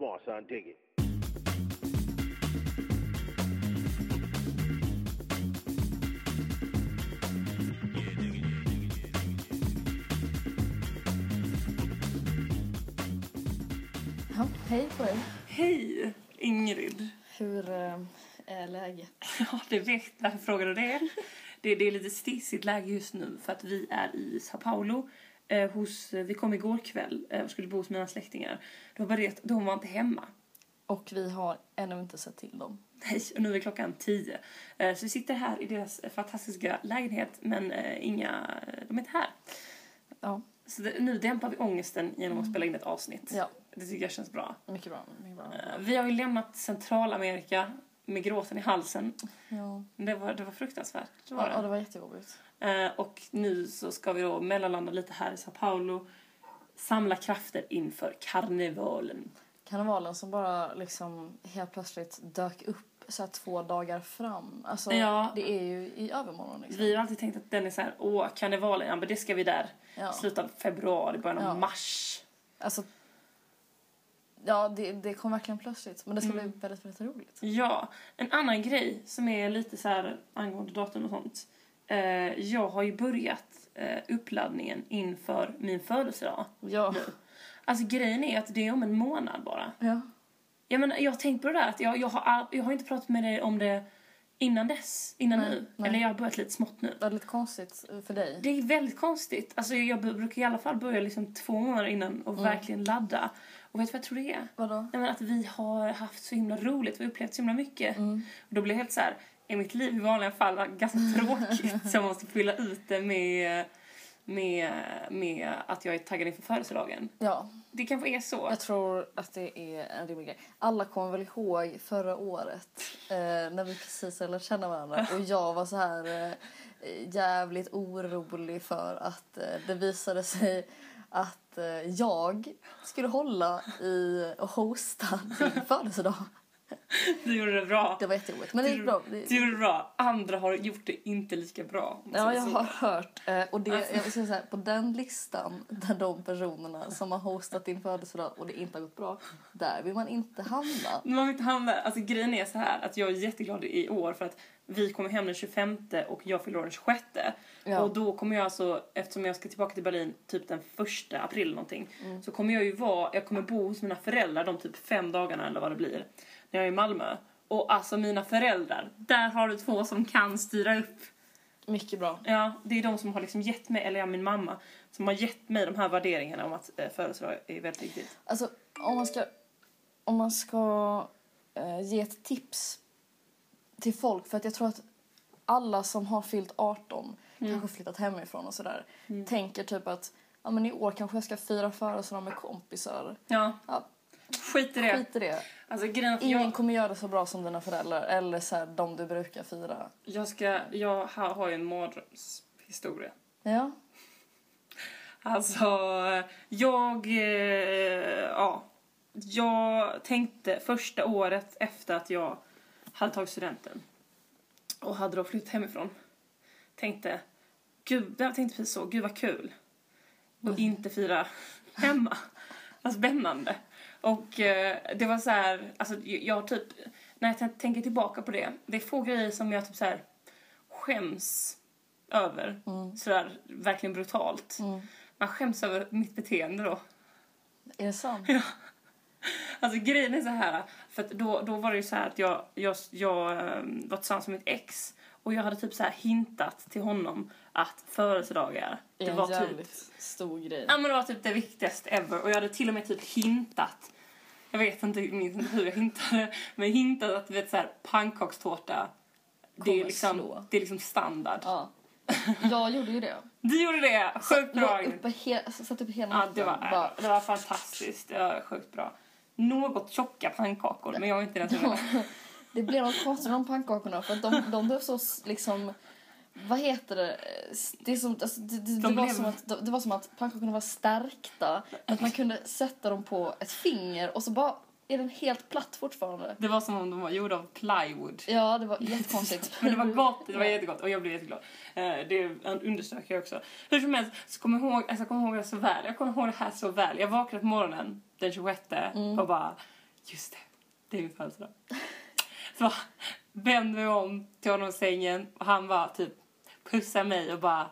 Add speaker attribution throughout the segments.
Speaker 1: on, son. Dig it.
Speaker 2: Ja, hej på er.
Speaker 3: Hej, Ingrid.
Speaker 2: Hur eh, är läget?
Speaker 3: Ja, det vet varför frågar du det? det? Det är lite stissigt läge just nu för att vi är i Sao Paulo. Eh, hos, vi kom igår kväll eh, och skulle bo hos mina släktingar. De var, det, de var inte hemma.
Speaker 2: Och vi har ännu inte sett till dem.
Speaker 3: Nej, och nu är klockan tio. Eh, så vi sitter här i deras fantastiska lägenhet men eh, inga, de är inte här.
Speaker 2: Ja,
Speaker 3: Så det, nu dämpar vi ångesten genom att spela in ett avsnitt.
Speaker 2: ja
Speaker 3: Det tycker jag känns bra.
Speaker 2: mycket bra. Mycket bra.
Speaker 3: Eh, vi har ju lämnat Centralamerika med gråten i halsen.
Speaker 2: Ja.
Speaker 3: Det var, det var fruktansvärt. Det var
Speaker 2: Ja,
Speaker 3: det.
Speaker 2: ja, det var jättejobbigt.
Speaker 3: Eh, och nu så ska vi då mellanlanda lite här i Sao Paulo. Samla krafter inför karnevalen.
Speaker 2: Karnevalen som bara liksom helt plötsligt dök upp så här två dagar fram. Alltså,
Speaker 3: Ja.
Speaker 2: det är ju i övermorgon liksom.
Speaker 3: Vi har alltid tänkt att den är så här, åh karnevalen, ja men det ska vi där.
Speaker 2: Ja.
Speaker 3: Slutet av februari, början av
Speaker 2: Ja.
Speaker 3: mars.
Speaker 2: Alltså, ja, det, det kom verkligen plötsligt. Men det ska bli väldigt, väldigt roligt.
Speaker 3: Ja, en annan grej som är lite så här angående datorn och sånt. Eh, jag har ju börjat eh, uppladdningen inför min födelsedag.
Speaker 2: Ja.
Speaker 3: Alltså grejen är att det är om en månad bara.
Speaker 2: Ja.
Speaker 3: Jag, menar, jag har tänkt på det där att jag, jag, har, all- jag har inte pratat med dig om det innan dess, innan
Speaker 2: Nej,
Speaker 3: nu.
Speaker 2: nej.
Speaker 3: Eller jag har börjat lite smått nu.
Speaker 2: Det är lite konstigt för dig.
Speaker 3: Det är väldigt konstigt. Alltså jag b- brukar i alla fall börja liksom två månader innan och
Speaker 2: Mm.
Speaker 3: verkligen ladda. Och vet du vad jag tror det är?
Speaker 2: Vadå?
Speaker 3: Nej, men att vi har haft så himla roligt, vi har upplevt så himla mycket.
Speaker 2: Mm.
Speaker 3: Och då blir jag helt så här, är mitt liv i vanliga fall ganska tråkigt så jag måste fylla ut det med, med, med att jag är taggad inför födelsedagen.
Speaker 2: Ja,
Speaker 3: Det kanske är så.
Speaker 2: Jag tror att det är en rimlig grej. Alla kommer väl ihåg förra året eh, när vi precis hade lärt känna varandra och jag var så här eh, jävligt orolig för att eh, det visade sig att eh, jag skulle hålla i och hosta din födelsedag.
Speaker 3: Du gjorde det bra.
Speaker 2: Det var jättejobbigt men det gick bra. Det-
Speaker 3: Du gjorde det bra. Andra har gjort det inte lika bra. om man
Speaker 2: Ja,
Speaker 3: säger
Speaker 2: jag
Speaker 3: så.
Speaker 2: har hört. eh, Och det, jag vill säga så här, på den listan där de personerna som har hostat din födelsedag och det inte har gått bra, där vill man inte hamna.
Speaker 3: Man vill inte hamna... Alltså grejen är så här att jag är jätteglad i år för att vi kommer hem den 25 och jag fyller år den 26.
Speaker 2: Ja.
Speaker 3: Och då kommer jag alltså, eftersom jag ska tillbaka till Berlin typ den 1 april eller någonting,
Speaker 2: Mm.
Speaker 3: så kommer jag ju vara, jag kommer bo hos mina föräldrar de typ fem dagarna eller vad det blir, när jag är i Malmö. Och alltså mina föräldrar, där har du två som kan styra upp.
Speaker 2: Mycket bra.
Speaker 3: Ja, det är de som har liksom gett mig, eller ja, min mamma, som har gett mig de här värderingarna om att eh, födelsedag är väldigt viktigt.
Speaker 2: Alltså, om man ska, om man ska eh, ge ett tips till folk, för att jag tror att alla som har fyllt
Speaker 3: Mm.
Speaker 2: 18, kanske flyttat hemifrån och sådär, tänker typ att ja, men i år kanske jag ska fira födelsedag med kompisar.
Speaker 3: Ja,
Speaker 2: Ja,
Speaker 3: skit i det.
Speaker 2: skit i det.
Speaker 3: Alltså grejen är att
Speaker 2: Ingen
Speaker 3: jag,
Speaker 2: kommer göra det så bra som dina föräldrar eller så här, de du brukar fira.
Speaker 3: jag ska, jag har, har ju en mardrömshistoria.
Speaker 2: Ja,
Speaker 3: Alltså, eh, jag, eh, ja. Jag tänkte första året efter att jag hade tagit studenten och hade då flytt hemifrån. Tänkte, gud, jag tänkte precis så, gud vad kul. Och inte fira hemma. Vad spännande. Och eh, det var så här, alltså jag- jag typ, när jag t- tänker tillbaka på det, det är få grejer som jag typ så här skäms över. Sådär verkligen brutalt. Man skäms över mitt beteende då.
Speaker 2: är det sant?
Speaker 3: Alltså grejen är så här, för att då, då var det ju så här att jag, jag, jag eh, var tillsammans med mitt ex och jag hade typ så här hintat till honom att födelsedagar, det var typ
Speaker 2: stor grej.
Speaker 3: Ja men det var typ det viktigaste ever och jag hade till och med typ hintat. Jag vet inte, minns inte hur jag hintade. Men hintat att du vet såhär pannkakstårta. Det är,
Speaker 2: Kommer
Speaker 3: liksom,
Speaker 2: slå.
Speaker 3: det är liksom standard.
Speaker 2: Ja. Jag gjorde ju det.
Speaker 3: Du gjorde det! Sjukt bra!
Speaker 2: Jag uppe he- satt uppe hela
Speaker 3: Ja,
Speaker 2: natten.
Speaker 3: det
Speaker 2: bara-
Speaker 3: var, det var fantastiskt. Det var sjukt bra. Något tjocka pannkakor men jag är inte den som
Speaker 2: Det blev något konstigt med de pannkakorna för att de, de blev så s- liksom vad heter det? Det, är som, alltså, det, det, det,
Speaker 3: De
Speaker 2: var
Speaker 3: blev-
Speaker 2: som att, det var som att pannkakorna var stärkta. Att man kunde sätta dem på ett finger och så bara är den helt platt fortfarande.
Speaker 3: Det var som om de var gjorda av plywood.
Speaker 2: Ja, det var jättekonstigt.
Speaker 3: Men det var gott, det var jättegott och jag blev jätteglad. Eh, Det underströk jag också. Hur som helst så kommer jag ihåg,
Speaker 2: Mm.
Speaker 3: alltså jag kommer ihåg det så väl. Jag kommer ihåg det här så väl. Jag vaknade på morgonen den 26 och bara just det, det är min födelsedag. Så vände vi om till honom i sängen och han bara typ pussade mig och bara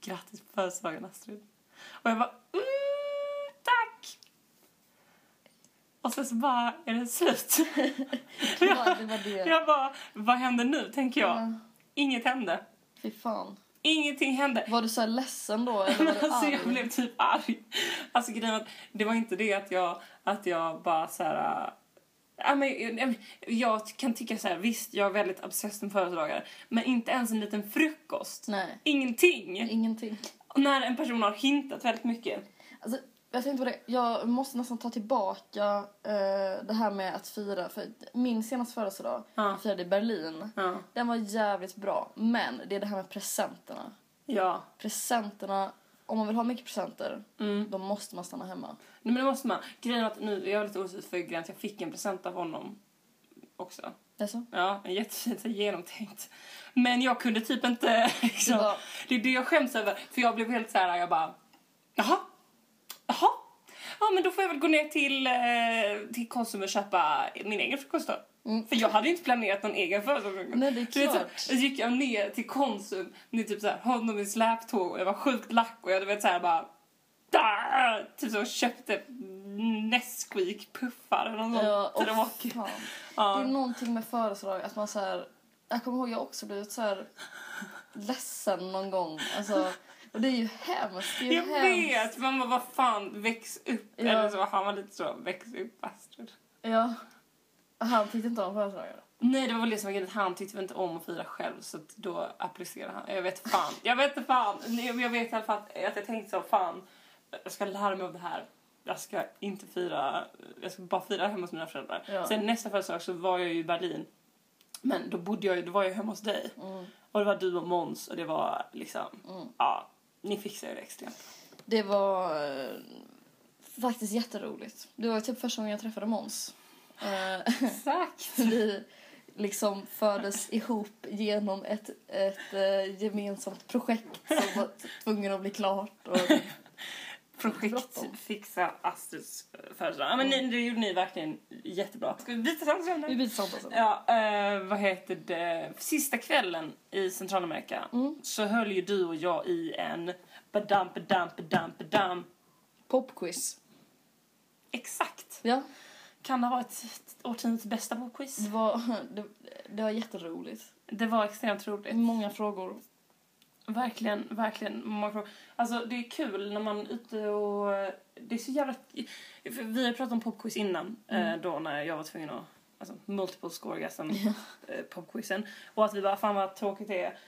Speaker 3: grattis på födelsedagen Astrid. Och jag bara mm, tack! Och sen så bara är det slut.
Speaker 2: Det var det. Var det. Mm.
Speaker 3: Jag bara vad händer nu tänker jag.
Speaker 2: Ja.
Speaker 3: Inget hände.
Speaker 2: Fy fan.
Speaker 3: Ingenting hände.
Speaker 2: Var du så här ledsen då? Eller var
Speaker 3: Men
Speaker 2: du
Speaker 3: alltså
Speaker 2: arg?
Speaker 3: jag blev typ arg. Alltså grejen var att det var inte det att jag, att jag bara så här. äh, ja, men, jag- jag- jag kan tycka så här, visst jag är väldigt obsessed med födelsedagar. Men inte ens en liten frukost.
Speaker 2: Nej,
Speaker 3: Ingenting.
Speaker 2: ingenting.
Speaker 3: Och När en person har hintat väldigt mycket.
Speaker 2: Alltså, jag tänkte på det. Jag måste nästan ta tillbaka eh, det här med att fira. För min senaste födelsedag
Speaker 3: Ja.
Speaker 2: jag firade i Berlin.
Speaker 3: Ja.
Speaker 2: Den var jävligt bra. Men det är det här med presenterna.
Speaker 3: ja.
Speaker 2: Presenterna, om man vill ha mycket presenter,
Speaker 3: Mm.
Speaker 2: då måste man stanna hemma.
Speaker 3: Nej, men det måste man. Grejen var att nu, jag är lite osäker för grejen att jag fick en present av honom också.
Speaker 2: Alltså,
Speaker 3: Ja, en jättefint så genomtänkt. Men jag kunde typ inte... Liksom,
Speaker 2: Det var-
Speaker 3: Det är det jag skäms över. För jag blev helt så här, jag bara... Jaha? Jaha? Ja, men då får jag väl gå ner till, eh, till Konsum och köpa min egen frukost då.
Speaker 2: Mm.
Speaker 3: För jag hade ju inte planerat någon egen födelsedag.
Speaker 2: Nej, det är
Speaker 3: Du vet så här,
Speaker 2: klart.
Speaker 3: Så gick jag ner till Konsum med typ så här, honom i släptåg och jag var sjukt lack och jag du vet så här bara... "Dah!" Typ så köpte Nesquik-puffar eller något
Speaker 2: Ja,
Speaker 3: sånt
Speaker 2: åh,
Speaker 3: tråkigt.
Speaker 2: fan. Det
Speaker 3: Ja.
Speaker 2: är någonting med födelsedag att man så här, jag kommer ihåg jag också blivit så här ledsen någon gång. Alltså, och det är ju hemskt. Det är ju
Speaker 3: Jag
Speaker 2: hemskt.
Speaker 3: vet! Man bara, vad fan, väx upp.
Speaker 2: Ja.
Speaker 3: Eller så, han var lite så, väx upp Astrid.
Speaker 2: Ja. Han tyckte inte om födelsedagar.
Speaker 3: Nej, det var väl det som var grejen. att Han tyckte väl inte om att fira själv, så att då applicerade han. Jag vet fan. Jag vet inte fan. Nej, men Jag vet i alla fall att att jag tänkte så, fan, jag ska lära mig av det här. Jag ska inte fira, jag ska bara fira hemma hos mina föräldrar.
Speaker 2: Ja.
Speaker 3: Sen nästa födelsedag så var jag ju i Berlin. Men då bodde jag ju, då var jag hemma hos dig.
Speaker 2: Mm.
Speaker 3: Och det var du och Måns och det var liksom,
Speaker 2: Mm.
Speaker 3: ja, ni fixade det extremt.
Speaker 2: Det var eh, faktiskt jätteroligt. Det var typ första gången jag träffade Måns. Eh,
Speaker 3: Exakt!
Speaker 2: vi liksom fördes ihop genom ett, ett eh, gemensamt projekt som var t- tvungen att bli klart. Och,
Speaker 3: projekt
Speaker 2: Bråttom.
Speaker 3: fixa Astrids födelsedag. Ja, men ni, det gjorde ni verkligen jättebra. Mm. Ska vi byta samtal
Speaker 2: vi
Speaker 3: nu?
Speaker 2: byter samtal sen.
Speaker 3: Ja, eh, vad heter det? Sista kvällen i Centralamerika
Speaker 2: Mm.
Speaker 3: så höll ju du och jag i en badam, badam, badam, badam.
Speaker 2: Popquiz.
Speaker 3: Exakt.
Speaker 2: Ja,
Speaker 3: Kan det ha varit årtiondets bästa bokquiz?
Speaker 2: det var, det, det var jätteroligt.
Speaker 3: Det var extremt roligt.
Speaker 2: Många frågor.
Speaker 3: Verkligen, verkligen. Man får- Alltså det är kul när man är ute och... Det är så jävla... för Vi har pratat om popquiz innan,
Speaker 2: Mm.
Speaker 3: eh, då när jag var tvungen att... Alltså multiple scoregasm eh, popquizen. Och att vi bara, fan vad tråkigt det är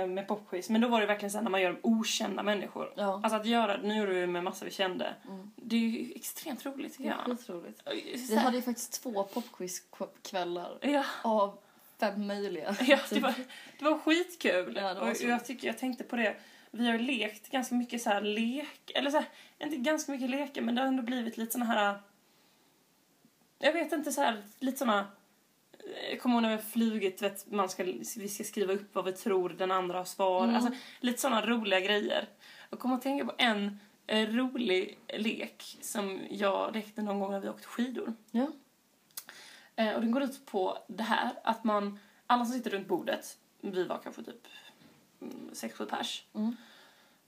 Speaker 3: eh, med popquiz. Men då var det verkligen så här när man gör med okända människor.
Speaker 2: Ja,
Speaker 3: Alltså att göra, nu gjorde vi det med massa vi kände.
Speaker 2: Mm.
Speaker 3: Det är ju extremt roligt tycker
Speaker 2: det var
Speaker 3: jag.
Speaker 2: skitroligt.
Speaker 3: Så
Speaker 2: Vi
Speaker 3: här-
Speaker 2: hade ju faktiskt två popquizkvällar
Speaker 3: Ja.
Speaker 2: av fem möjliga.
Speaker 3: Ja, det var, det var skitkul.
Speaker 2: typ. Ja, det var
Speaker 3: och
Speaker 2: så.
Speaker 3: jag, tycker, jag tänkte på det. Vi har ju lekt ganska mycket så här lek, eller så här, inte ganska mycket leker, men det har ändå blivit lite såna här... Jag vet inte, så här, lite såna... Jag kommer ihåg när vi har flugit, vet, man ska, vi ska skriva upp vad vi tror den andra har svar.
Speaker 2: Mm.
Speaker 3: Alltså, lite såna roliga grejer. Jag kommer att tänka på en eh, rolig lek som jag lekte någon gång när vi åkte skidor.
Speaker 2: Ja.
Speaker 3: Eh, och den går ut på det här att man, alla som sitter runt bordet, vi var kanske typ 6-7 pers.
Speaker 2: Mm.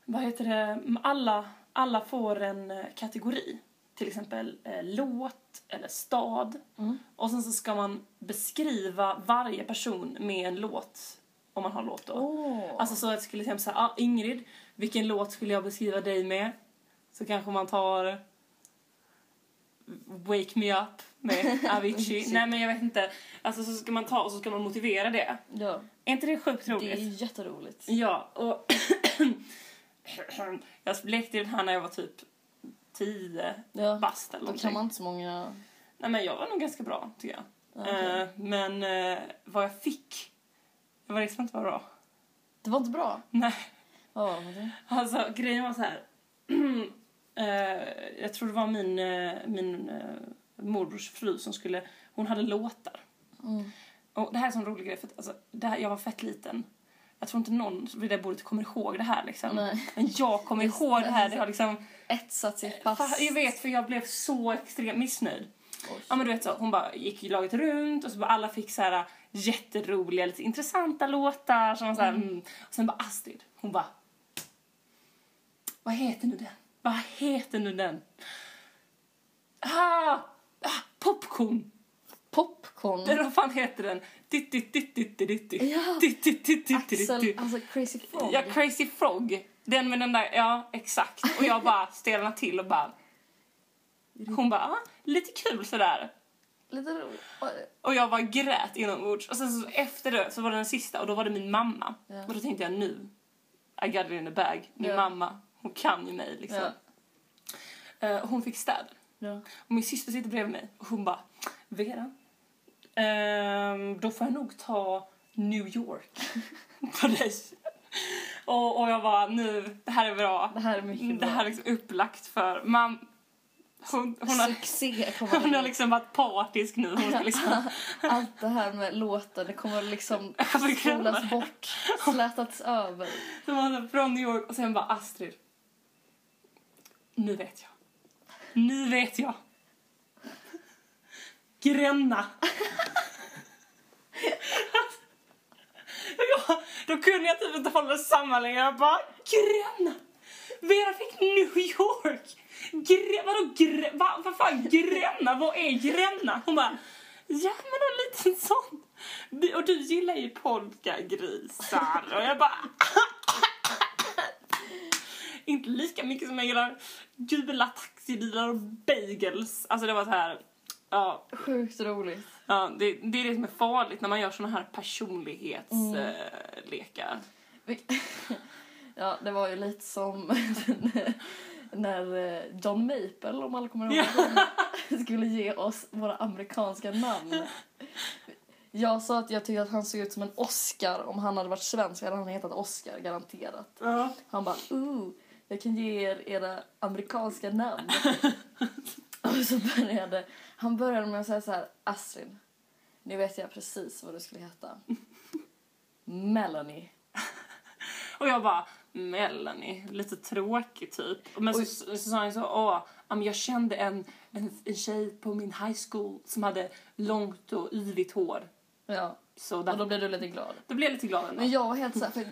Speaker 3: Vad heter det, alla, alla får en eh, kategori. Till exempel eh, låt eller stad.
Speaker 2: Mm.
Speaker 3: Och sen så ska man beskriva varje person med en låt, om man har låt då.
Speaker 2: Åh.
Speaker 3: Alltså så att jag skulle säga såhär, ah, Ingrid, vilken låt skulle jag beskriva dig med? Så kanske man tar Wake Me Up med Avicii. Nej men jag vet inte. Alltså så ska man ta och så ska man motivera det.
Speaker 2: ja,
Speaker 3: Är inte det sjukt
Speaker 2: det
Speaker 3: roligt?
Speaker 2: är jätteroligt.
Speaker 3: Ja, och jag lekte ju den här när jag var typ 10
Speaker 2: Ja,
Speaker 3: bast eller
Speaker 2: då
Speaker 3: någonting.
Speaker 2: kan man inte så många...
Speaker 3: Nej men jag var nog ganska bra tycker jag.
Speaker 2: Ja, okej.
Speaker 3: Eh, men eh, vad jag fick, det var liksom inte bara bra.
Speaker 2: Det var inte bra.
Speaker 3: Nej.
Speaker 2: Vad var det för någonting?
Speaker 3: Alltså grejen var så här. Eh, jag tror det var min, eh, min eh, morbrors fru som skulle, hon hade låtar.
Speaker 2: Mm.
Speaker 3: Och det här är en sån rolig grej för att alltså, det här, jag var fett liten. Jag tror inte någon vid det bordet kommer ihåg det här liksom.
Speaker 2: Nej.
Speaker 3: Men jag kommer
Speaker 2: Just
Speaker 3: ihåg
Speaker 2: det.
Speaker 3: det här, det har liksom
Speaker 2: etsat sitt pass.
Speaker 3: Fan, Jag vet för jag blev så extremt missnöjd.
Speaker 2: Oj.
Speaker 3: Ja men du vet så, hon bara gick ju laget runt och så bara alla fick så här äh, jätteroliga, lite intressanta låtar som var så här, mm. Och sen bara Astrid, hon bara Vad heter nu den? Vad heter nu den? Ah! ah popcorn!
Speaker 2: Popcorn.
Speaker 3: Eller vad fan heter den? Ditt, ditt, ditt, ditt, ditt, ditt.
Speaker 2: Mm. Ja.
Speaker 3: Ditt, ditt, ditt, ditt, ditt,
Speaker 2: Axel,
Speaker 3: ditt.
Speaker 2: alltså Crazy Frog.
Speaker 3: Ja, Crazy Frog. Den med den där, ja exakt. Och jag bara stelnade till och bara... Hon bara, ah, lite kul sådär.
Speaker 2: Lite roligt. Oj.
Speaker 3: Och jag bara grät inombords. Och sen så efter det så var det den sista och då var det min mamma.
Speaker 2: Ja.
Speaker 3: Och då tänkte jag nu, I got it in the bag. Min
Speaker 2: Ja.
Speaker 3: mamma, hon kan ju mig liksom.
Speaker 2: Ja.
Speaker 3: Eh, hon fick städer.
Speaker 2: Ja.
Speaker 3: Och min syster sitter bredvid mig och hon bara, Vera, ehm, då får jag nog ta New York på dig. och, och jag bara, nu, det här är bra.
Speaker 2: Det här är mycket
Speaker 3: Det
Speaker 2: bra.
Speaker 3: här är liksom upplagt för, man, hon, hon, har,
Speaker 2: Succé kommer
Speaker 3: hon har
Speaker 2: det.
Speaker 3: liksom varit partisk nu. Hon har liksom,
Speaker 2: Allt det här med låtar, det kommer liksom
Speaker 3: kommer glömma
Speaker 2: spolas
Speaker 3: det.
Speaker 2: bort, slätats över.
Speaker 3: Så man var från New York och sen bara Astrid. Nu vet jag. Nu vet jag. Gränna. ja, då kunde jag typ inte hålla samman längre. Jag bara Gränna. Vera fick New York. Gre- vadå gre- va, vad fan Gränna? Vad är Gränna? Hon bara Ja men en liten sån. Du- Och du gillar ju polkagrisar. Och jag bara inte lika mycket som jag gillar gula taxibilar och bagels. Alltså det var så här, ja,
Speaker 2: Sjukt roligt.
Speaker 3: ja det, det är det som är farligt när man gör såna här personlighetslekar. Eh,
Speaker 2: Mm.
Speaker 3: lekar.
Speaker 2: Vi- Ja, det var ju lite som när eh, John Maple, om alla kommer ihåg honom, skulle ge oss våra amerikanska namn. Jag sa att jag tyckte att han såg ut som en Oscar. Om han hade varit svensk hade han hetat Oscar, garanterat.
Speaker 3: ja.
Speaker 2: Han bara, ooh, jag kan ge er era amerikanska namn. och så började, han började med att säga så här, Astrid, nu vet jag precis vad du skulle heta. Melanie.
Speaker 3: Och jag bara, Melanie, lite tråkig typ. Men så, så, så sa han så, åh, ja, men jag kände en, en, en tjej på min high school som hade långt och yvigt hår.
Speaker 2: Ja,
Speaker 3: Så
Speaker 2: och
Speaker 3: där,
Speaker 2: då
Speaker 3: då,
Speaker 2: blev du lite glad.
Speaker 3: blev jag lite glad ändå.
Speaker 2: Men jag var helt så här, för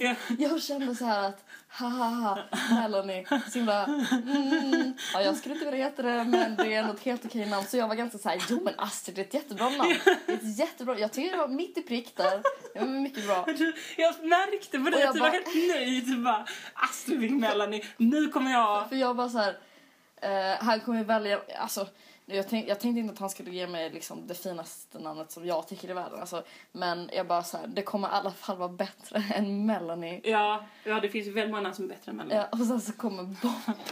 Speaker 3: Ja.
Speaker 2: jag kände så här att haha, Melanie, så himla, mm, ja, jag skulle inte vilja heta det men det är något helt okej namn. Så jag var ganska så här, jo men Astrid det är ett jättebra namn. Det är ett jättebra, jag tycker det var mitt i prick där. Det var mycket bra.
Speaker 3: Du, Jag märkte på
Speaker 2: Och
Speaker 3: dig
Speaker 2: jag
Speaker 3: att du var
Speaker 2: bara-
Speaker 3: helt nöjd. Du bara, Astrid fick Melanie, nu kommer jag...
Speaker 2: För jag bara så här, eh, han kommer ju välja, alltså jag, tänk, jag tänkte inte att han skulle ge mig liksom det finaste namnet som jag tycker i världen. Alltså, men jag bara så här, det kommer i alla fall vara bättre än Melanie.
Speaker 3: Ja, ja, det finns ju väldigt många som är bättre än Melanie.
Speaker 2: Ja, och sen så kommer bomben.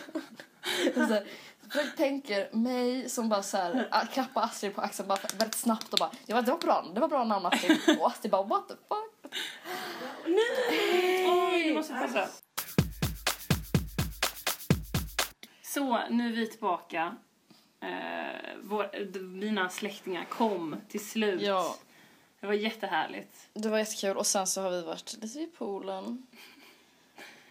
Speaker 2: Och så här, jag tänker mig som bara så här, a- klappar Astrid på axeln bara väldigt snabbt och bara ja, det var bra, det var bra namn Astrid. Och Astrid bara what the fuck.
Speaker 3: Nej! Oj, nu måste jag passa. Så, nu är vi tillbaka. Eh, vår, d- mina släktingar kom till slut.
Speaker 2: Ja.
Speaker 3: Det var jättehärligt.
Speaker 2: Det var jättekul och sen så har vi varit lite i poolen.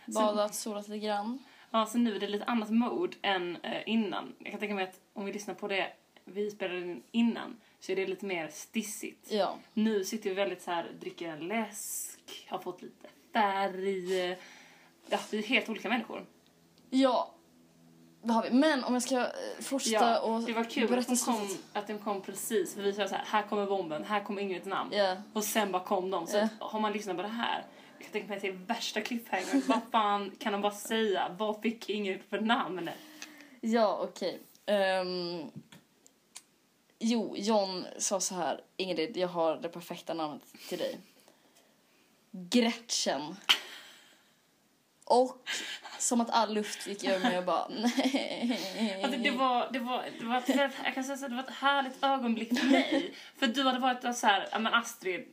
Speaker 2: Badat, solat lite grann.
Speaker 3: Ja, så nu är det lite annat mode än eh, innan. Jag kan tänka mig att om vi lyssnar på det vi spelade in innan så är det lite mer stissigt.
Speaker 2: Ja.
Speaker 3: Nu sitter vi väldigt så här, dricker en läsk, har fått lite färg. Ja, vi är helt olika människor.
Speaker 2: Ja. Det har vi. Men om jag ska eh, fortsätta
Speaker 3: Ja,
Speaker 2: och
Speaker 3: det var kul att de, kom,
Speaker 2: slutet.
Speaker 3: att de kom precis. För vi sa så här, här kommer bomben, här kommer Ingrids namn.
Speaker 2: Ja.
Speaker 3: Och sen bara kom de. Så
Speaker 2: Ja.
Speaker 3: att, har man lyssnat på det här, jag kan tänka mig att det är värsta cliffhanger. vad fan kan de bara säga? Vad fick Ingrid för namn?
Speaker 2: Ja, okej. Ehm, jo, John sa så här. Ingrid, jag har det perfekta namnet till dig. Gretchen. Och som att all luft gick ur mig och bara nej.
Speaker 3: Alltså, det, var, det, var, det, var ett, väldigt- jag kan säga så, här, det var ett härligt ögonblick för mig. för du hade varit så här, ja men Astrid,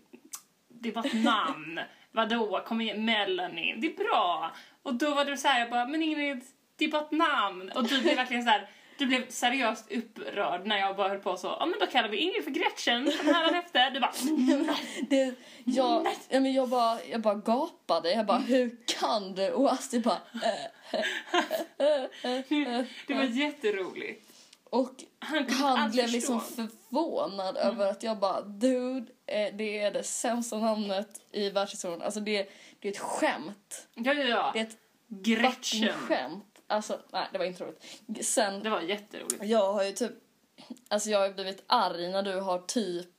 Speaker 3: det var ett namn. Vadå, kom igen, Melanie, det är bra. Och då var du så här, jag bara, men Ingrid, det är bara ett namn. Och du blev verkligen så här, Du blev seriöst upprörd när jag bara höll på så. Ja men då kallar vi Ingrid för Gretchen från hädanefter. Du bara mm,
Speaker 2: Det, jag, ja, men jag, bara, jag bara gapade. Jag bara, hur kan du? Och Astrid bara... eh, eh, eh, eh.
Speaker 3: Det var jätteroligt.
Speaker 2: Och
Speaker 3: Han kunde inte
Speaker 2: han
Speaker 3: alls
Speaker 2: blev
Speaker 3: förstå.
Speaker 2: liksom förvånad över att jag bara, dude, eh, det är det sämsta namnet i världshistorien. Alltså det, det är ett skämt.
Speaker 3: Ja ja ja.
Speaker 2: Det är ett fucking
Speaker 3: Gretchen.
Speaker 2: skämt. Alltså, nej, det var inte roligt. Sen
Speaker 3: Det var jätteroligt.
Speaker 2: Jag har ju typ... Alltså jag har ju blivit arg när du har typ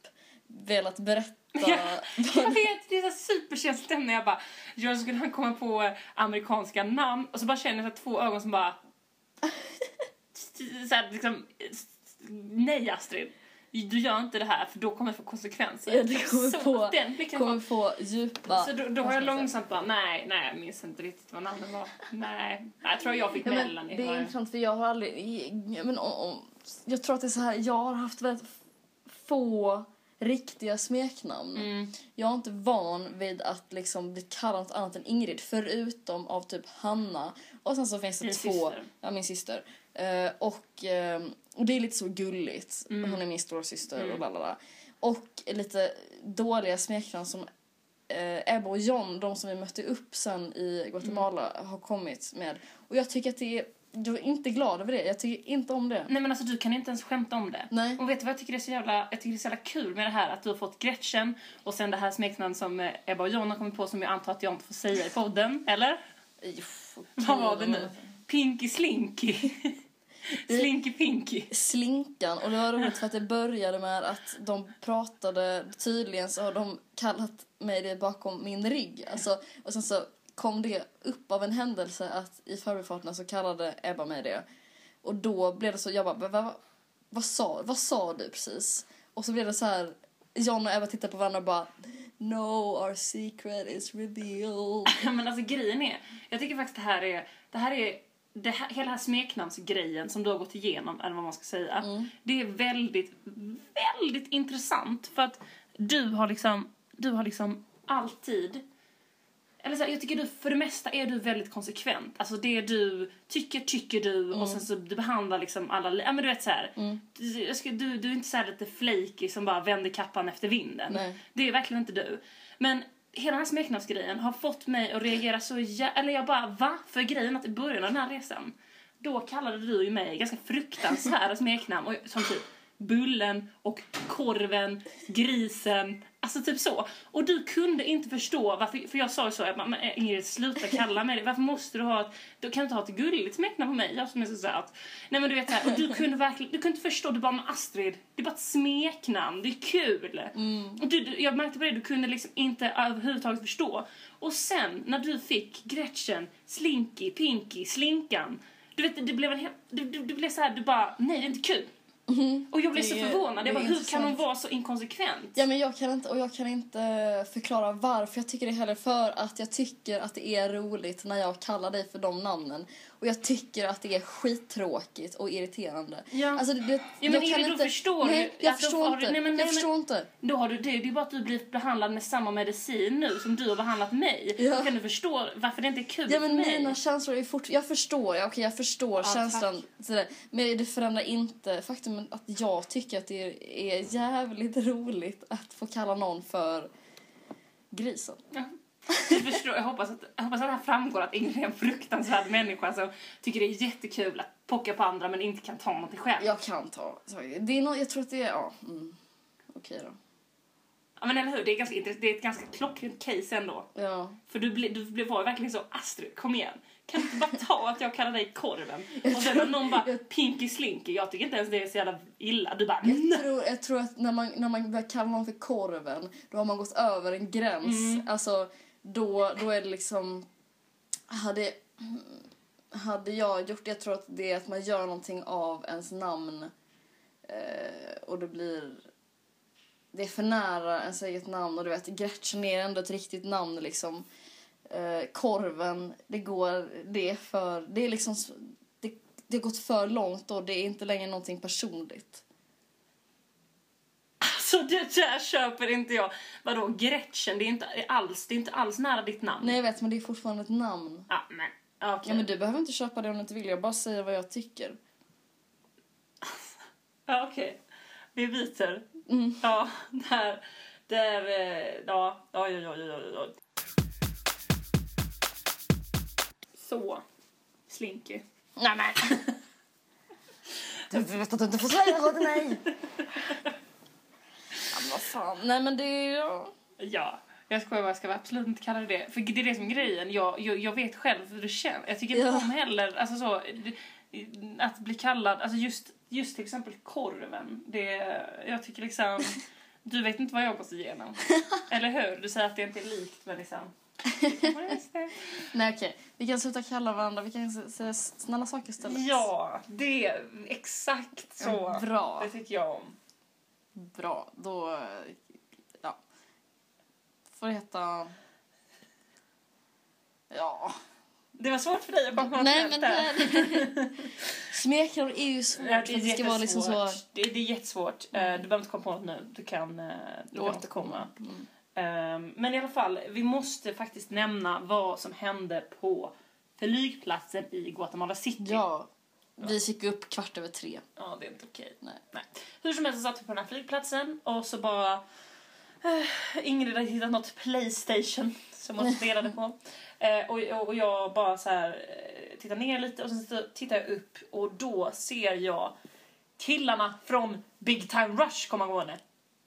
Speaker 2: velat berätta...
Speaker 3: Jag vet, det är så superkänsligt ämne. Jag bara, jag skulle han komma på amerikanska namn och så bara känner jag så här två ögon som bara... Så här, liksom, nej Astrid, du gör inte det här för då kommer det få konsekvenser.
Speaker 2: Ja, det kommer
Speaker 3: så,
Speaker 2: få-
Speaker 3: Den blicken
Speaker 2: kommer
Speaker 3: var-
Speaker 2: få djupa...
Speaker 3: så då, då har jag
Speaker 2: konsekvenser.
Speaker 3: långsamt bara, nej, nej, jag minns inte riktigt vad namnen var. Nej, nej jag tror jag fick
Speaker 2: Ja, men
Speaker 3: Mellan i
Speaker 2: det är
Speaker 3: början.
Speaker 2: intressant för jag har aldrig... ja, Men, om, om, jag tror att det är så här, jag har haft väldigt få riktiga smeknamn.
Speaker 3: Mm.
Speaker 2: Jag är inte van vid att liksom bli kallad något annat än Ingrid förutom av typ Hanna. Och sen så finns det
Speaker 3: Din
Speaker 2: två...
Speaker 3: syster.
Speaker 2: Ja, min syster. Eh, och, eh, och det är lite så gulligt. Hon är min stora syster
Speaker 3: Mm.
Speaker 2: och lalala. Och lite dåliga smeknamn som eh, Ebba och John, de som vi mötte upp sen i Guatemala, har kommit med. Och jag tycker att det är... Jag är inte glad över det. Jag tycker inte om det.
Speaker 3: Nej men alltså du kan inte ens skämta om det.
Speaker 2: Nej.
Speaker 3: Och vet du vad jag tycker är så jävla, jag tycker det är så jävla kul med det här att du har fått Gretchen och sen det här smeknamnet som eh, Ebba och John har kommit på som jag antar att jag inte får säga i podden, eller?
Speaker 2: Uff,
Speaker 3: Mm. Vad var det
Speaker 2: Mm.
Speaker 3: nu? Pinky Slinky. Slinky Pinky.
Speaker 2: Slinkan. Och det var roligt för att det började med att de pratade, tydligen så har de kallat mig det bakom min rygg. Alltså, och sen så kom det upp av en händelse att i förbifarterna så kallade Ebba mig det. Och då blev det så, jag bara, "Va- va, vad, sa, vad sa du precis? Och så blev det så här, John och Ebba tittade på varandra och bara No, our secret is revealed.
Speaker 3: Ja, men alltså grejen är, jag tycker faktiskt det här är, det här är, det här, hela den här smeknamnsgrejen som du har gått igenom, eller vad man ska säga, det är väldigt, väldigt intressant för att du har liksom, du har liksom alltid eller så här, jag tycker du, för det mesta är du väldigt konsekvent. Alltså det du tycker, tycker du och sen så du behandlar liksom alla, li- ja men du vet så här. Du, jag ska, du, du är inte så här lite flaky som bara vänder kappan efter vinden.
Speaker 2: Nej.
Speaker 3: Det är verkligen inte du. Men hela den här smeknamnsgrejen har fått mig att reagera så jä- eller jag bara va? För grejen att i början av den här resan, då kallade du ju mig ganska fruktansvärda smeknamn och, som typ Bullen och korven, grisen, alltså typ så. Och du kunde inte förstå varför, för jag sa ju så, jag bara, "Men eh, Ingrid sluta kalla mig det, varför måste du ha ett, du kan inte ha ett gulligt smeknamn på mig, jag som är så söt. Nej men du vet så här, och du kunde verkligen, du kunde inte förstå, du bara men Astrid, det är bara ett smeknamn, det är kul.
Speaker 2: Mm.
Speaker 3: Och du, du, jag märkte på det, du kunde liksom inte överhuvudtaget förstå. Och sen när du fick Gretchen, Slinky, Pinky, Slinkan, du vet det blev en hel, du, du, du blev så här, du bara nej det är inte kul. Och jag blev
Speaker 2: Mm. Det
Speaker 3: så
Speaker 2: är-
Speaker 3: förvånad,
Speaker 2: det är
Speaker 3: jag bara hur kan
Speaker 2: intressant.
Speaker 3: hon vara så inkonsekvent?
Speaker 2: Ja, men jag kan inte, och jag kan inte förklara varför jag tycker det heller. För att jag tycker att det är roligt när jag kallar dig för de namnen. Och jag tycker att det är skittråkigt och irriterande.
Speaker 3: Ja.
Speaker 2: Alltså, det, det,
Speaker 3: men
Speaker 2: jag
Speaker 3: Ingrid,
Speaker 2: kan
Speaker 3: då
Speaker 2: inte...
Speaker 3: förstår du
Speaker 2: nej, jag
Speaker 3: att de
Speaker 2: förstår
Speaker 3: har-
Speaker 2: inte.
Speaker 3: nej, men- nej,
Speaker 2: jag
Speaker 3: men-
Speaker 2: förstår inte.
Speaker 3: Då har du det, det är bara att du blir behandlad med samma medicin nu som du har behandlat mig.
Speaker 2: Ja.
Speaker 3: Då kan du förstå varför det inte är kul
Speaker 2: Ja, men
Speaker 3: för mig.
Speaker 2: mina känslor är fort... Jag förstår, ja, okej, jag förstår
Speaker 3: tack.
Speaker 2: känslan. Sådär. Men det förändrar inte faktum att jag tycker att det är, är jävligt roligt att få kalla någon för grisen.
Speaker 3: Jag, förstår, jag, hoppas att, jag hoppas att det här framgår att Ingrid är en fruktansvärd människa som tycker det är jättekul att pocka på andra men inte kan ta någonting själv. Ja.
Speaker 2: Jag kan ta... sorry. Det är nå jag tror att det är... Ja. Mm. Okej då.
Speaker 3: men eller hur, det är, ganska, intress- det är ett ganska klockrent case ändå.
Speaker 2: Ja.
Speaker 3: För du, bli, du bli, var ju verkligen så Astrid, kom igen. Kan du inte bara ta att jag kallar dig korven? Och sen när någon bara Pinky Slinky, jag tycker inte ens det är så jävla illa. Du bara
Speaker 2: Jag tror, jag tror att när man, när man börjar kalla någon för korven, då har man gått över en gräns. Alltså, då, då är det liksom... Hade, hade jag gjort det, jag tror att det är att man gör någonting av ens namn eh, och det blir... Det är för nära ens eget namn och du vet, Gretchen är ändå ett riktigt namn liksom. Eh, korven, det går, det är för, det är liksom, s- det, det har gått för långt och det är inte längre någonting personligt.
Speaker 3: Alltså det där köper inte jag. Vadå Gretchen, det är inte alls, det är inte alls nära ditt namn.
Speaker 2: Nej jag vet men det är fortfarande ett namn.
Speaker 3: Ja men okej.
Speaker 2: Ja men du behöver inte köpa det om du inte vill, jag bara säger vad jag tycker.
Speaker 3: Ja, okej. Vi byter.
Speaker 2: Mm.
Speaker 3: Ja, där. Där, eh, ja. Oj, oj, oj, oj, oj, oj. Så. Slinky.
Speaker 2: Nej men! Du vet att du inte får säga så till mig! Ja, men vad fan. Nej men det är ju...
Speaker 3: Ja. Jag skojar bara, jag ska absolut inte kalla det det. För det är det som är grejen. Jag, jag, jag vet själv hur det känns. Jag tycker inte
Speaker 2: Ja.
Speaker 3: om heller, alltså så, det- att bli kallad, alltså just, just till exempel korven. Det, jag tycker liksom, du vet inte vad jag gått igenom. Eller hur? Du säger att det inte är likt, men liksom. Ja, just det.
Speaker 2: Nej okej, vi kan sluta kalla varandra, vi kan s- säga s- snälla saker istället.
Speaker 3: Ja, det, exakt så.
Speaker 2: Bra,
Speaker 3: Det tycker jag om.
Speaker 2: bra. Då, eh, ja. Får det heta... Ja.
Speaker 3: Det var svårt för dig att komma på något
Speaker 2: Nej
Speaker 3: skämt
Speaker 2: men det
Speaker 3: där.
Speaker 2: är... Smeknamn är ju svårt.
Speaker 3: Ja,
Speaker 2: för att det ska vara liksom så...
Speaker 3: jättesvårt. Det, det är jättesvårt. Eh, Du behöver inte komma på något nu. Du kan, eh, du kan återkomma.
Speaker 2: Mm.
Speaker 3: Ehm, Men i alla fall, vi måste faktiskt nämna vad som hände på flygplatsen i Guatemala City.
Speaker 2: Ja. Vi gick upp kvart över tre.
Speaker 3: Ja, det är inte okej.
Speaker 2: Nej.
Speaker 3: Hur som helst så satt vi på den här flygplatsen och så bara... eh, Ingrid hade hittat något Playstation som hon spelade på. Eh, och, och, och jag bara så här eh, tittar ner lite och sen så tittar jag upp och då ser jag killarna från Big Time Rush komma gående.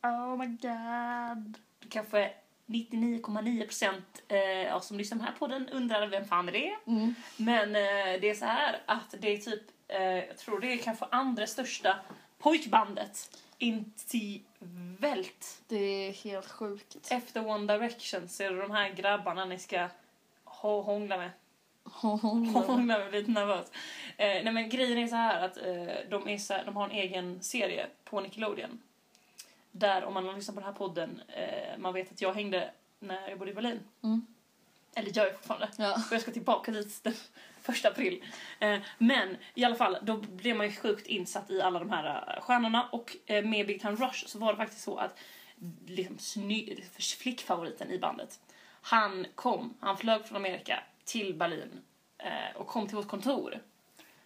Speaker 3: Oh my god. Kanske 99,9% eh, av som lyssnar på den här podden undrar vem fan är det är.
Speaker 2: Mm.
Speaker 3: Men eh, det är så här att det är typ, eh, jag tror det är kanske andra största pojkbandet. Intivält.
Speaker 2: Det är helt sjukt.
Speaker 3: Efter One Direction så är det de här grabbarna ni ska hå- hångla med.
Speaker 2: Mm.
Speaker 3: Hångla med, lite nervös. Eh, nej men grejen är så här att eh, de, är så här, de har en egen serie på Nickelodeon. Där om man har lyssnat på den här podden, eh, man vet att jag hängde när jag bodde i Berlin.
Speaker 2: Mm.
Speaker 3: Eller gör jag fortfarande.
Speaker 2: Ja.
Speaker 3: Och jag ska tillbaka dit den första april. Eh, men i alla fall, då blev man ju sjukt insatt i alla de här eh, stjärnorna. Och eh, med Big Time Rush så var det faktiskt så att liksom, sny- flickfavoriten i bandet, han kom, han flög från Amerika till Berlin eh, och kom till vårt kontor.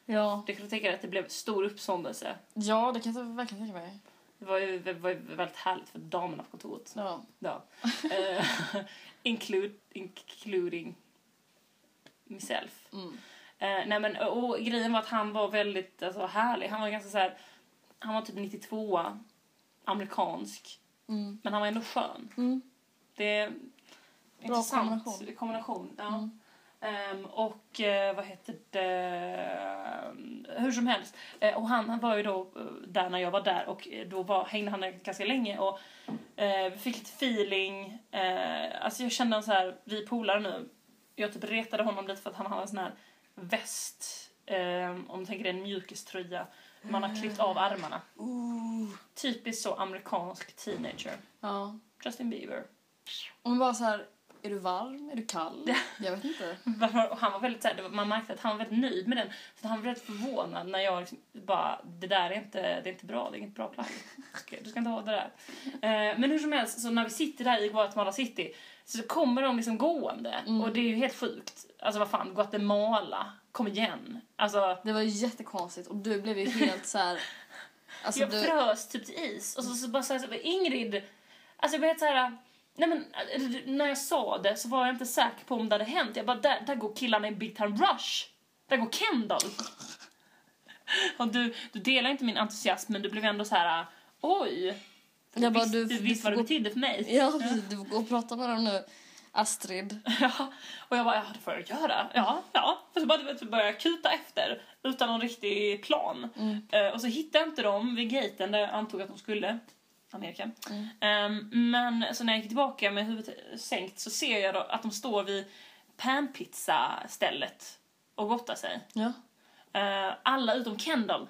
Speaker 2: Ja.
Speaker 3: Det kan du tänka dig att det blev stor uppståndelse.
Speaker 2: ja, det kan jag verkligen tänka mig.
Speaker 3: Det var ju, det var ju väldigt härligt för damerna på kontoret.
Speaker 2: Ja.
Speaker 3: Ja. Eh, include, including myself.
Speaker 2: Mm.
Speaker 3: Eh, nej men, och grejen var att han var väldigt alltså, härlig. Han var ganska så här, han var typ 92 amerikansk.
Speaker 2: Mm.
Speaker 3: Men han var ändå skön.
Speaker 2: Mm.
Speaker 3: Det är intressant kombination.
Speaker 2: kombination.
Speaker 3: ja. Ehm, och eh, vad heter det? Hur som helst. Eh, och han, han var ju då eh, där när jag var där och eh, då var, hängde han där ganska länge och eh, vi fick lite feeling. Eh, alltså jag kände så här, vi är polare nu. Jag typ retade honom lite för att han hade en sån här väst, eh, om du tänker dig en mjukiströja. Man har klippt av armarna. Typiskt så amerikansk teenager.
Speaker 2: Ja.
Speaker 3: Justin Bieber.
Speaker 2: Om man bara så här, är du varm? Är du kall? Jag vet inte.
Speaker 3: Varför- Och han var väldigt, så här, det var- man märkte att han var väldigt nöjd med den. Så han var väldigt förvånad när jag liksom bara, det där är inte, det är inte bra, det är inget bra plagg. Okej, Du ska inte ha det där. Eh, men hur som helst, så när vi sitter där i Guatemala City så kommer de liksom gående. Och det är ju helt sjukt. Alltså vad fan, Guatemala, kom igen. Alltså,
Speaker 2: Det var ju jättekonstigt och du blev ju helt så här... Alltså,
Speaker 3: jag
Speaker 2: du,
Speaker 3: frös typ till is. Och så, så bara så här, så, bara, Ingrid, alltså jag blev helt så här... Nej men, eh, när jag sa det så var jag inte säker på om det hade hänt. Jag bara, där, där går killarna i Big Time Rush. Där går Kendall. Och du, du delar inte min entusiasm men du blev ändå så här, eh, oj.
Speaker 2: jag bara,
Speaker 3: visst,
Speaker 2: du,
Speaker 3: du
Speaker 2: du
Speaker 3: visst
Speaker 2: får
Speaker 3: vad det
Speaker 2: gå-
Speaker 3: betydde för mig.
Speaker 2: Ja, precis. Du får gå och prata med dem nu. Astrid.
Speaker 3: Ja, och jag bara, ja det får jag göra. Ja, ja. Och så bara, du vet, så började jag kuta efter utan någon riktig plan.
Speaker 2: Mm.
Speaker 3: Eh, och så hittade jag inte dem vid gaten där jag antog att de skulle. Amerika.
Speaker 2: Mm.
Speaker 3: Eh, men så när jag gick tillbaka med huvudet sänkt så ser jag då att de står vid panpizza-stället och gottar sig.
Speaker 2: Ja.
Speaker 3: Eh, alla utom Kendall.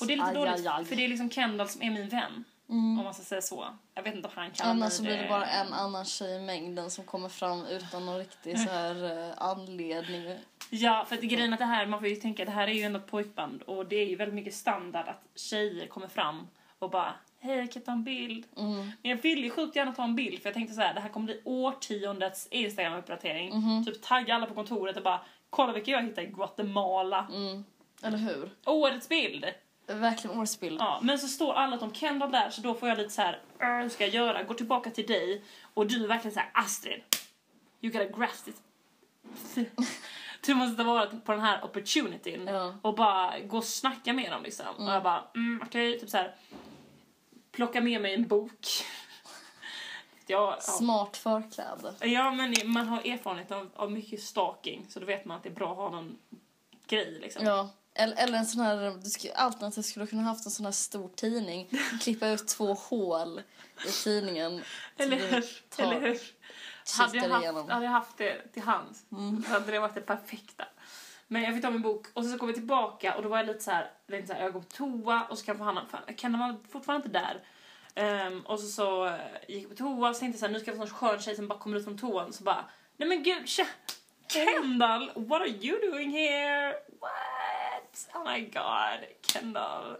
Speaker 3: Och det är lite
Speaker 2: Aj,
Speaker 3: dåligt
Speaker 2: aj, aj.
Speaker 3: för det är liksom Kendall som är min vän.
Speaker 2: Mm.
Speaker 3: Om man ska säga så. Jag vet inte om han kallar
Speaker 2: Annars
Speaker 3: mig
Speaker 2: så blir det bara en annan tjej i mängden som kommer fram utan någon riktig så här eh, anledning.
Speaker 3: Ja, för att grejen är att det här, man får ju tänka, det här är ju ändå ett pojkband och det är ju väldigt mycket standard att tjejer kommer fram och bara Hej, kan jag ta en bild?
Speaker 2: Mm.
Speaker 3: Men jag ville ju sjukt gärna ta en bild för jag tänkte så här, det här kommer bli årtiondets Instagram-uppdatering. Typ tagga alla på kontoret och bara kolla vilka jag hittade i Guatemala.
Speaker 2: Mm. Eller hur?
Speaker 3: Årets bild!
Speaker 2: Verkligen årets bild.
Speaker 3: Ja, men så står alla utom Kendall där så då får jag lite så här, "Äh, hur ska jag göra? Går tillbaka till dig och du är verkligen så här, Astrid, you gotta grasp it. Du måste ta vara på den här opportunityn
Speaker 2: Ja.
Speaker 3: och bara gå och snacka med dem liksom. Och jag bara, mm, okej, typ så här, plocka med mig en bok. ja, ja.
Speaker 2: Smart förkläde.
Speaker 3: ja, men man har erfarenhet av, av mycket stalking så då vet man att det är bra att ha någon grej liksom.
Speaker 2: Ja. Eller, eller en sån här, du skulle, alternativt skulle du kunna haft en sån här stor tidning, klippa ut två hål i tidningen. Typ, så
Speaker 3: Eller
Speaker 2: du
Speaker 3: hur?
Speaker 2: tar-
Speaker 3: Eller hur? Hade jag,
Speaker 2: kikar
Speaker 3: haft,
Speaker 2: igenom.
Speaker 3: hade jag haft det till hands så hade det varit det perfekta. Men jag fick ta min bok och sen så kom jag tillbaka och då var jag lite så här, lite så här jag går på toa och så kanske han, fan, Kenna var fortfarande inte där. Ehm, och så, så eh, gick jag på toa och så tänkte jag så här, nu ska jag få en sån skön tjej som bara kommer ut från toan så bara, nej men gud, tja! Kendall, what are you doing here? What? Oh my god, Kendall.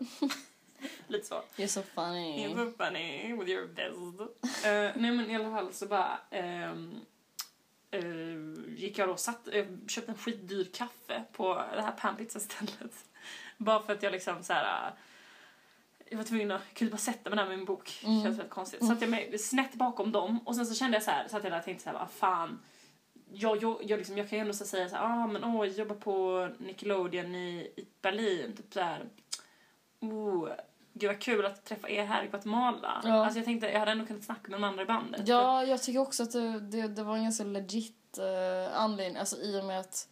Speaker 3: lite så.
Speaker 2: You're so funny.
Speaker 3: You're so funny with your best. Eh, nej men i alla fall så bara ehm, eh, gick jag då och satt, eh, köpte en skitdyr kaffe på det här panpizzastället. bara för att jag liksom så här. eh, jag var tvungen att, jag kunde bara sätta mig där med min bok.
Speaker 2: Mm.
Speaker 3: Känns väldigt konstigt. Satt jag mig snett bakom dem och sen så kände jag så här, satt jag där och tänkte så här, vad fan. Jag, jag, jag, liksom, jag kan ju ändå så säga så här, ah men åh, jag jobbar på Nickelodeon i, i Berlin, typ så här. Oh, gud vad kul att träffa er här i Guatemala.
Speaker 2: Ja.
Speaker 3: Alltså jag tänkte, jag hade ändå kunnat snacka med de andra i bandet.
Speaker 2: Ja, jag tycker också att det, det, det var en ganska legit eh, anledning. Alltså i och med att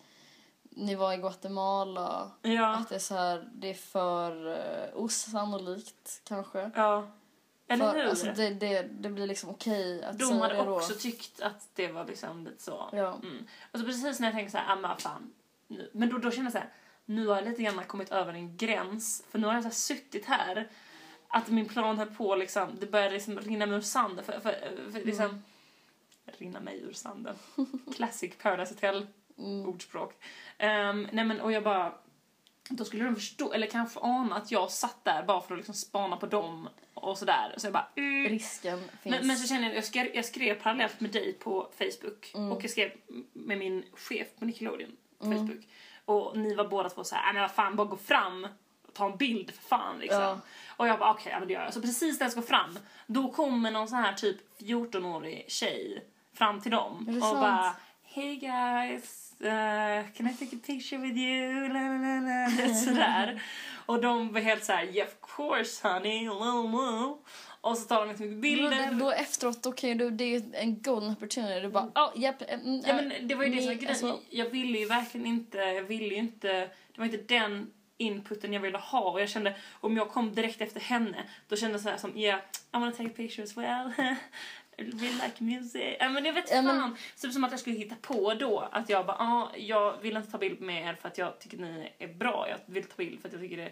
Speaker 2: ni var i Guatemala.
Speaker 3: Ja.
Speaker 2: Att det är så här, det är för eh, osannolikt kanske.
Speaker 3: ja. Eller
Speaker 2: för,
Speaker 3: hur?
Speaker 2: Alltså det, det, det blir liksom okej att
Speaker 3: de
Speaker 2: säga
Speaker 3: hade
Speaker 2: det då.
Speaker 3: också tyckt att det var liksom lite så.
Speaker 2: Ja.
Speaker 3: Mm. Alltså precis när jag tänkte så här, ah, men vad fan. Nu. Men då, då kände jag så här, nu har jag lite grann kommit över en gräns. För nu har jag så här suttit här. Att min plan höll på liksom, det började liksom rinna mig ur sanden. För, för, för, liksom, Rinna mig ur sanden. Classic Paradise Hotel
Speaker 2: Mm.
Speaker 3: ordspråk. Ehm, nej men och jag bara, då skulle de förstå, eller kanske ana att jag satt där bara för att liksom spana på dem och sådär. Så jag bara, mm.
Speaker 2: Risken finns.
Speaker 3: Men, men så känner jag, jag skrev, jag skrev parallellt med dig på Facebook
Speaker 2: Mm.
Speaker 3: och jag skrev med min chef på Nickelodeon på Facebook. Och ni var båda två såhär, "Nej, men vad fan, bara gå fram och ta en bild för fan liksom.
Speaker 2: Ja.
Speaker 3: Och jag bara okej, ja, men det gör jag. Så precis när jag ska gå fram, då kommer någon sån här typ 14-årig tjej fram till dem
Speaker 2: Är det
Speaker 3: och
Speaker 2: sant?
Speaker 3: bara Hey guys, uh, can I take a picture with you? La, la, la, la. Du vet, Sådär. Och de var helt såhär, yeah, of course honey, la, la. Och så tar de liksom inte mycket bilder.
Speaker 2: Men Då, då efteråt, då kan ju du, det är ju en golden opportunity. Du bara, ja, alltså- japp. mm,
Speaker 3: Ja,
Speaker 2: äh,
Speaker 3: men det var ju det som var
Speaker 2: me as
Speaker 3: grejen.
Speaker 2: well."
Speaker 3: Jag ville ju verkligen inte, jag ville ju inte, det var inte den inputen jag ville ha och jag kände om jag kom direkt efter henne då kände jag såhär som yeah, I wanna take pictures as well. I really like music. Ja, men jag vet
Speaker 2: Ja,
Speaker 3: fan.
Speaker 2: men-
Speaker 3: Typ som att jag skulle hitta på då att jag bara ah, jag vill inte ta bild med er för att jag tycker ni är bra. Jag vill ta bild för att jag tycker det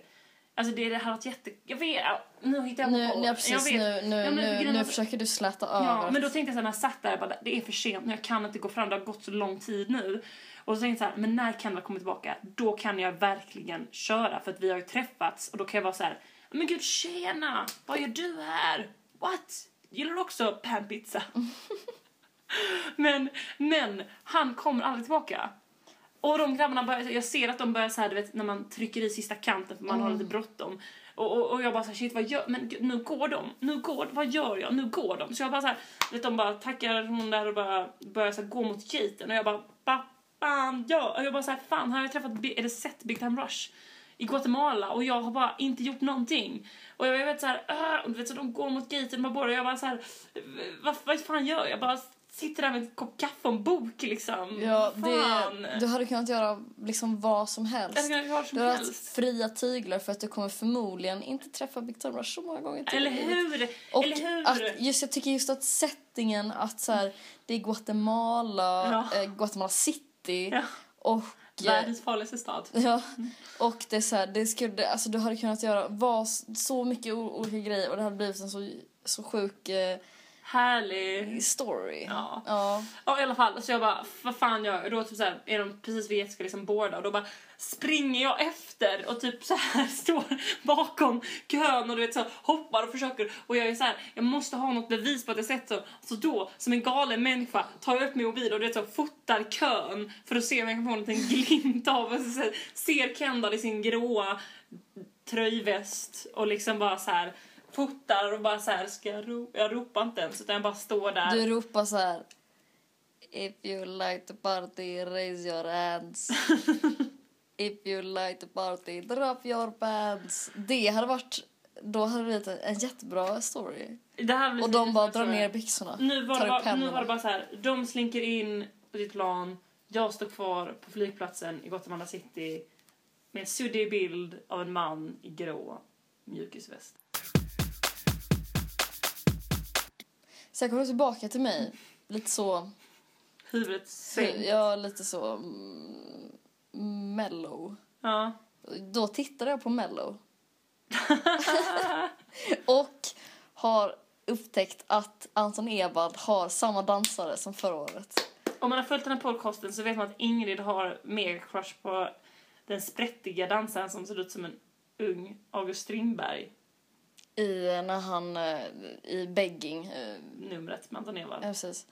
Speaker 3: Alltså det, det hade varit jätte... Jag vet, ja, nu hittar jag
Speaker 2: Nu,
Speaker 3: på.
Speaker 2: ja, precis,
Speaker 3: jag vet.
Speaker 2: nu, nu,
Speaker 3: Ja, men på
Speaker 2: nu,
Speaker 3: grund
Speaker 2: nu
Speaker 3: av-
Speaker 2: försöker du släta
Speaker 3: Ja,
Speaker 2: över.
Speaker 3: men då tänkte jag så här, när jag satt där, jag bara, det är för sent nu, jag kan inte gå fram, det har gått så lång tid nu. Och så tänkte jag så här, men när Kendall kommer tillbaka, då kan jag verkligen köra för att vi har ju träffats och då kan jag vara så här, men gud tjena, vad gör du här? What? Gillar du också panpizza? men, men, han kommer aldrig tillbaka. Och de grabbarna börjar, jag ser att de börjar så här, du vet när man trycker i sista kanten för man har
Speaker 2: Mm.
Speaker 3: lite bråttom. Och, och, och jag bara så här, shit vad gör, men gud, nu går de, nu går, vad gör jag, nu går de. Så jag bara så här, du vet de bara tackar hon där och bara börjar så här, gå mot gaten och jag bara, ba, fan, ja. Och jag bara så här, fan har jag träffat, Bi- eller sett Big Time Rush? i Guatemala och jag har bara inte gjort någonting. Och jag, jag vet så här, "Ah", och du vet så de går mot gaten med båda och jag bara så här, vad, vad fan gör jag? Jag bara sitter där med en kopp kaffe och en bok liksom.
Speaker 2: Ja,
Speaker 3: Vad fan.
Speaker 2: det, du hade kunnat göra liksom vad som
Speaker 3: Jag
Speaker 2: helst.
Speaker 3: skulle kunna göra vad som
Speaker 2: Du har haft
Speaker 3: helst.
Speaker 2: fria tyglar för att du kommer förmodligen inte träffa Big Time Rush så många gånger till.
Speaker 3: Eller hur?
Speaker 2: Och
Speaker 3: Eller hur?
Speaker 2: Att just, jag tycker just att settingen att så här, det är Guatemala,
Speaker 3: Ja.
Speaker 2: eh, Guatemala city
Speaker 3: Ja.
Speaker 2: och eh,
Speaker 3: Världens farligaste stad.
Speaker 2: Ja,
Speaker 3: Mm.
Speaker 2: och det är så här, det skulle, alltså du hade kunnat göra vad, så mycket o- olika grejer och det hade blivit en så, så sjuk eh,
Speaker 3: Härlig.
Speaker 2: story.
Speaker 3: Ja.
Speaker 2: ja.
Speaker 3: Ja, i alla fall. Så jag bara, vad fan gör jag? Då typ så här, är de precis vid Jessica liksom båda och då bara springer jag efter och typ så här står bakom kön och du vet så här, hoppar och försöker och jag är så här, jag måste ha något bevis på att jag sett så. Så då, som en galen människa, tar jag upp min mobil och du vet så fotar kön för att se om jag kan få en liten glimt av och så här, ser Kendall i sin gråa tröjväst och liksom bara så här puttar och bara så här ska jag, ro- jag ropar inte ens utan jag bara står där.
Speaker 2: Du ropar så här... If you like to party, raise your hands. If you like to party, drop your pants. Det hade varit... Då hade det blivit en jättebra story.
Speaker 3: Det här blir
Speaker 2: Och
Speaker 3: lite
Speaker 2: de bara
Speaker 3: så
Speaker 2: drar
Speaker 3: här.
Speaker 2: ner byxorna.
Speaker 3: Nu var,
Speaker 2: tar
Speaker 3: det
Speaker 2: upp
Speaker 3: bara, nu
Speaker 2: händerna.
Speaker 3: var det bara så här. De slinker in på sitt plan. Jag står kvar på flygplatsen i Guatemala City med en suddig bild av en man i grå mjukisväst.
Speaker 2: Sen kommer du tillbaka till mig. Lite så...
Speaker 3: Huvudet sänkt.
Speaker 2: Ja, lite så... mm, Mellow.
Speaker 3: Ja.
Speaker 2: Då tittar jag på Mello. och har upptäckt att Anton Ebald har samma dansare som förra året.
Speaker 3: Om man har följt den här podcasten så vet man att Ingrid har mega crush på den sprättiga dansaren som ser ut som en ung August Strindberg.
Speaker 2: I, eh, när han, eh, i begging. eh,
Speaker 3: Numret med Anton
Speaker 2: Ja,
Speaker 3: Ewald.
Speaker 2: precis.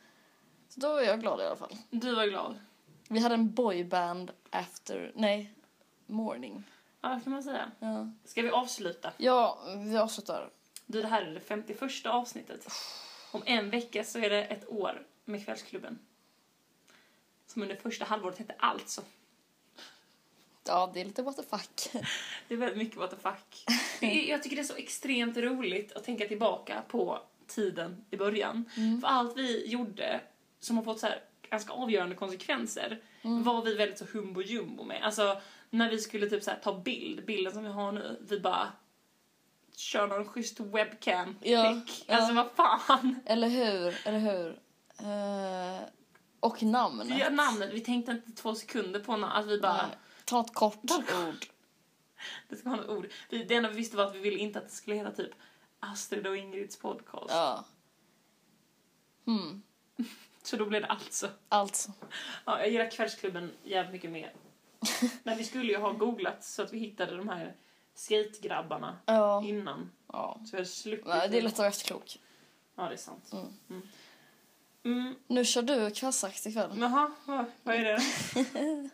Speaker 2: Så då är jag glad i alla fall.
Speaker 3: Du var glad.
Speaker 2: Vi hade en boyband after, nej, morning.
Speaker 3: Ja, vad kan man säga.
Speaker 2: Ja,
Speaker 3: Ska vi avsluta?
Speaker 2: ja vi avslutar.
Speaker 3: Du, det här är det 51 avsnittet. Om en vecka så är det ett år med Kvällsklubben. Som under första halvåret hette Alltså.
Speaker 2: Ja, det är lite what the fuck.
Speaker 3: Det är väldigt mycket what the fuck. Det är, jag tycker det är så extremt roligt att tänka tillbaka på tiden i början.
Speaker 2: Mm.
Speaker 3: För allt vi gjorde som har fått så här ganska avgörande konsekvenser
Speaker 2: Mm.
Speaker 3: var vi väldigt så humbo jumbo med. Alltså när vi skulle typ så här ta bild, bilden som vi har nu, vi bara kör någon schysst webcam
Speaker 2: Ja, ja.
Speaker 3: Alltså vad fan.
Speaker 2: Eller hur, eller hur. Eh, och namnet.
Speaker 3: Ja, namnet, vi tänkte inte två sekunder på namn. Alltså, vi bara,
Speaker 2: Nej. Ta ett kort ord.
Speaker 3: det ska vara något ord. Vi, det enda vi visste var att vi ville inte att det skulle heta typ Astrid och Ingrids podcast.
Speaker 2: Ja. Hmm.
Speaker 3: Så då blev det alltså.
Speaker 2: Alltså.
Speaker 3: Ja, jag gillar Kvällsklubben jävligt mycket mer. Men vi skulle ju ha googlat så att vi hittade de här skategrabbarna
Speaker 2: Ja.
Speaker 3: innan.
Speaker 2: ja.
Speaker 3: Så vi hade sluppit.
Speaker 2: Nej, Det är lätt att vara efterklok.
Speaker 3: Ja, det är sant.
Speaker 2: Mm.
Speaker 3: Mm. Mm.
Speaker 2: Nu kör du kvällsakt ikväll.
Speaker 3: Jaha, vad, vad är det?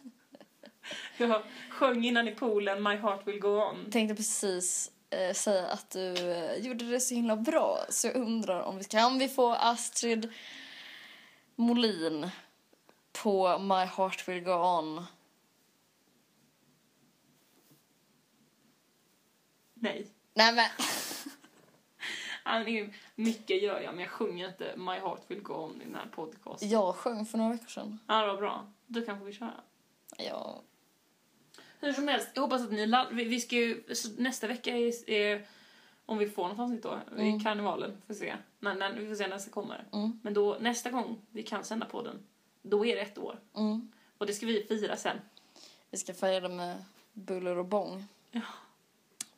Speaker 3: jag sjöng innan i poolen My heart will go on.
Speaker 2: Tänkte precis eh, säga att du eh, gjorde det så himla bra. Så jag undrar om vi kan vi få Astrid Molin på My Heart Will Go On.
Speaker 3: Nej.
Speaker 2: Nej men.
Speaker 3: Ja, men det är- Mycket gör jag, men jag sjunger inte My heart will go on i den här podcasten.
Speaker 2: Jag sjöng för några veckor sedan.
Speaker 3: Ja, det var bra. Du kanske vill köra.
Speaker 2: Ja.
Speaker 3: Hur som helst, jag hoppas att ni land- vi, vi ska ju, så Nästa vecka är, är... Om vi får något avsnitt då, i
Speaker 2: Mm.
Speaker 3: karnevalen. Får se. Men, men, vi får se när det kommer.
Speaker 2: Mm.
Speaker 3: Men då, nästa gång vi kan sända podden, då är det ett år.
Speaker 2: Mm.
Speaker 3: Och det ska vi fira sen.
Speaker 2: Vi ska fira det med buller och bång.
Speaker 3: Ja.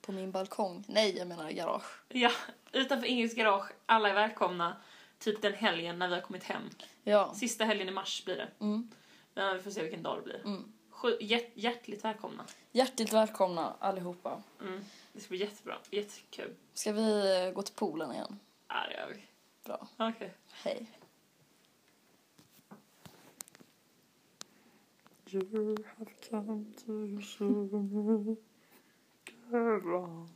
Speaker 2: På min balkong. Nej, jag menar garage.
Speaker 3: Ja, utanför Ingrids garage. Alla är välkomna. Typ den helgen när vi har kommit hem.
Speaker 2: Ja.
Speaker 3: Sista helgen i mars blir det.
Speaker 2: Mm.
Speaker 3: Men vi får se vilken dag det blir.
Speaker 2: Mm.
Speaker 3: Sju- hjärt- hjärtligt välkomna.
Speaker 2: Hjärtligt välkomna allihopa.
Speaker 3: Mm. Det ska bli jättebra. Jättekul.
Speaker 2: Ska vi eh, gå till poolen igen?
Speaker 3: Ja, det gör vi.
Speaker 2: Bra.
Speaker 3: Okej.
Speaker 2: Hej.
Speaker 1: You have come too soon, girl.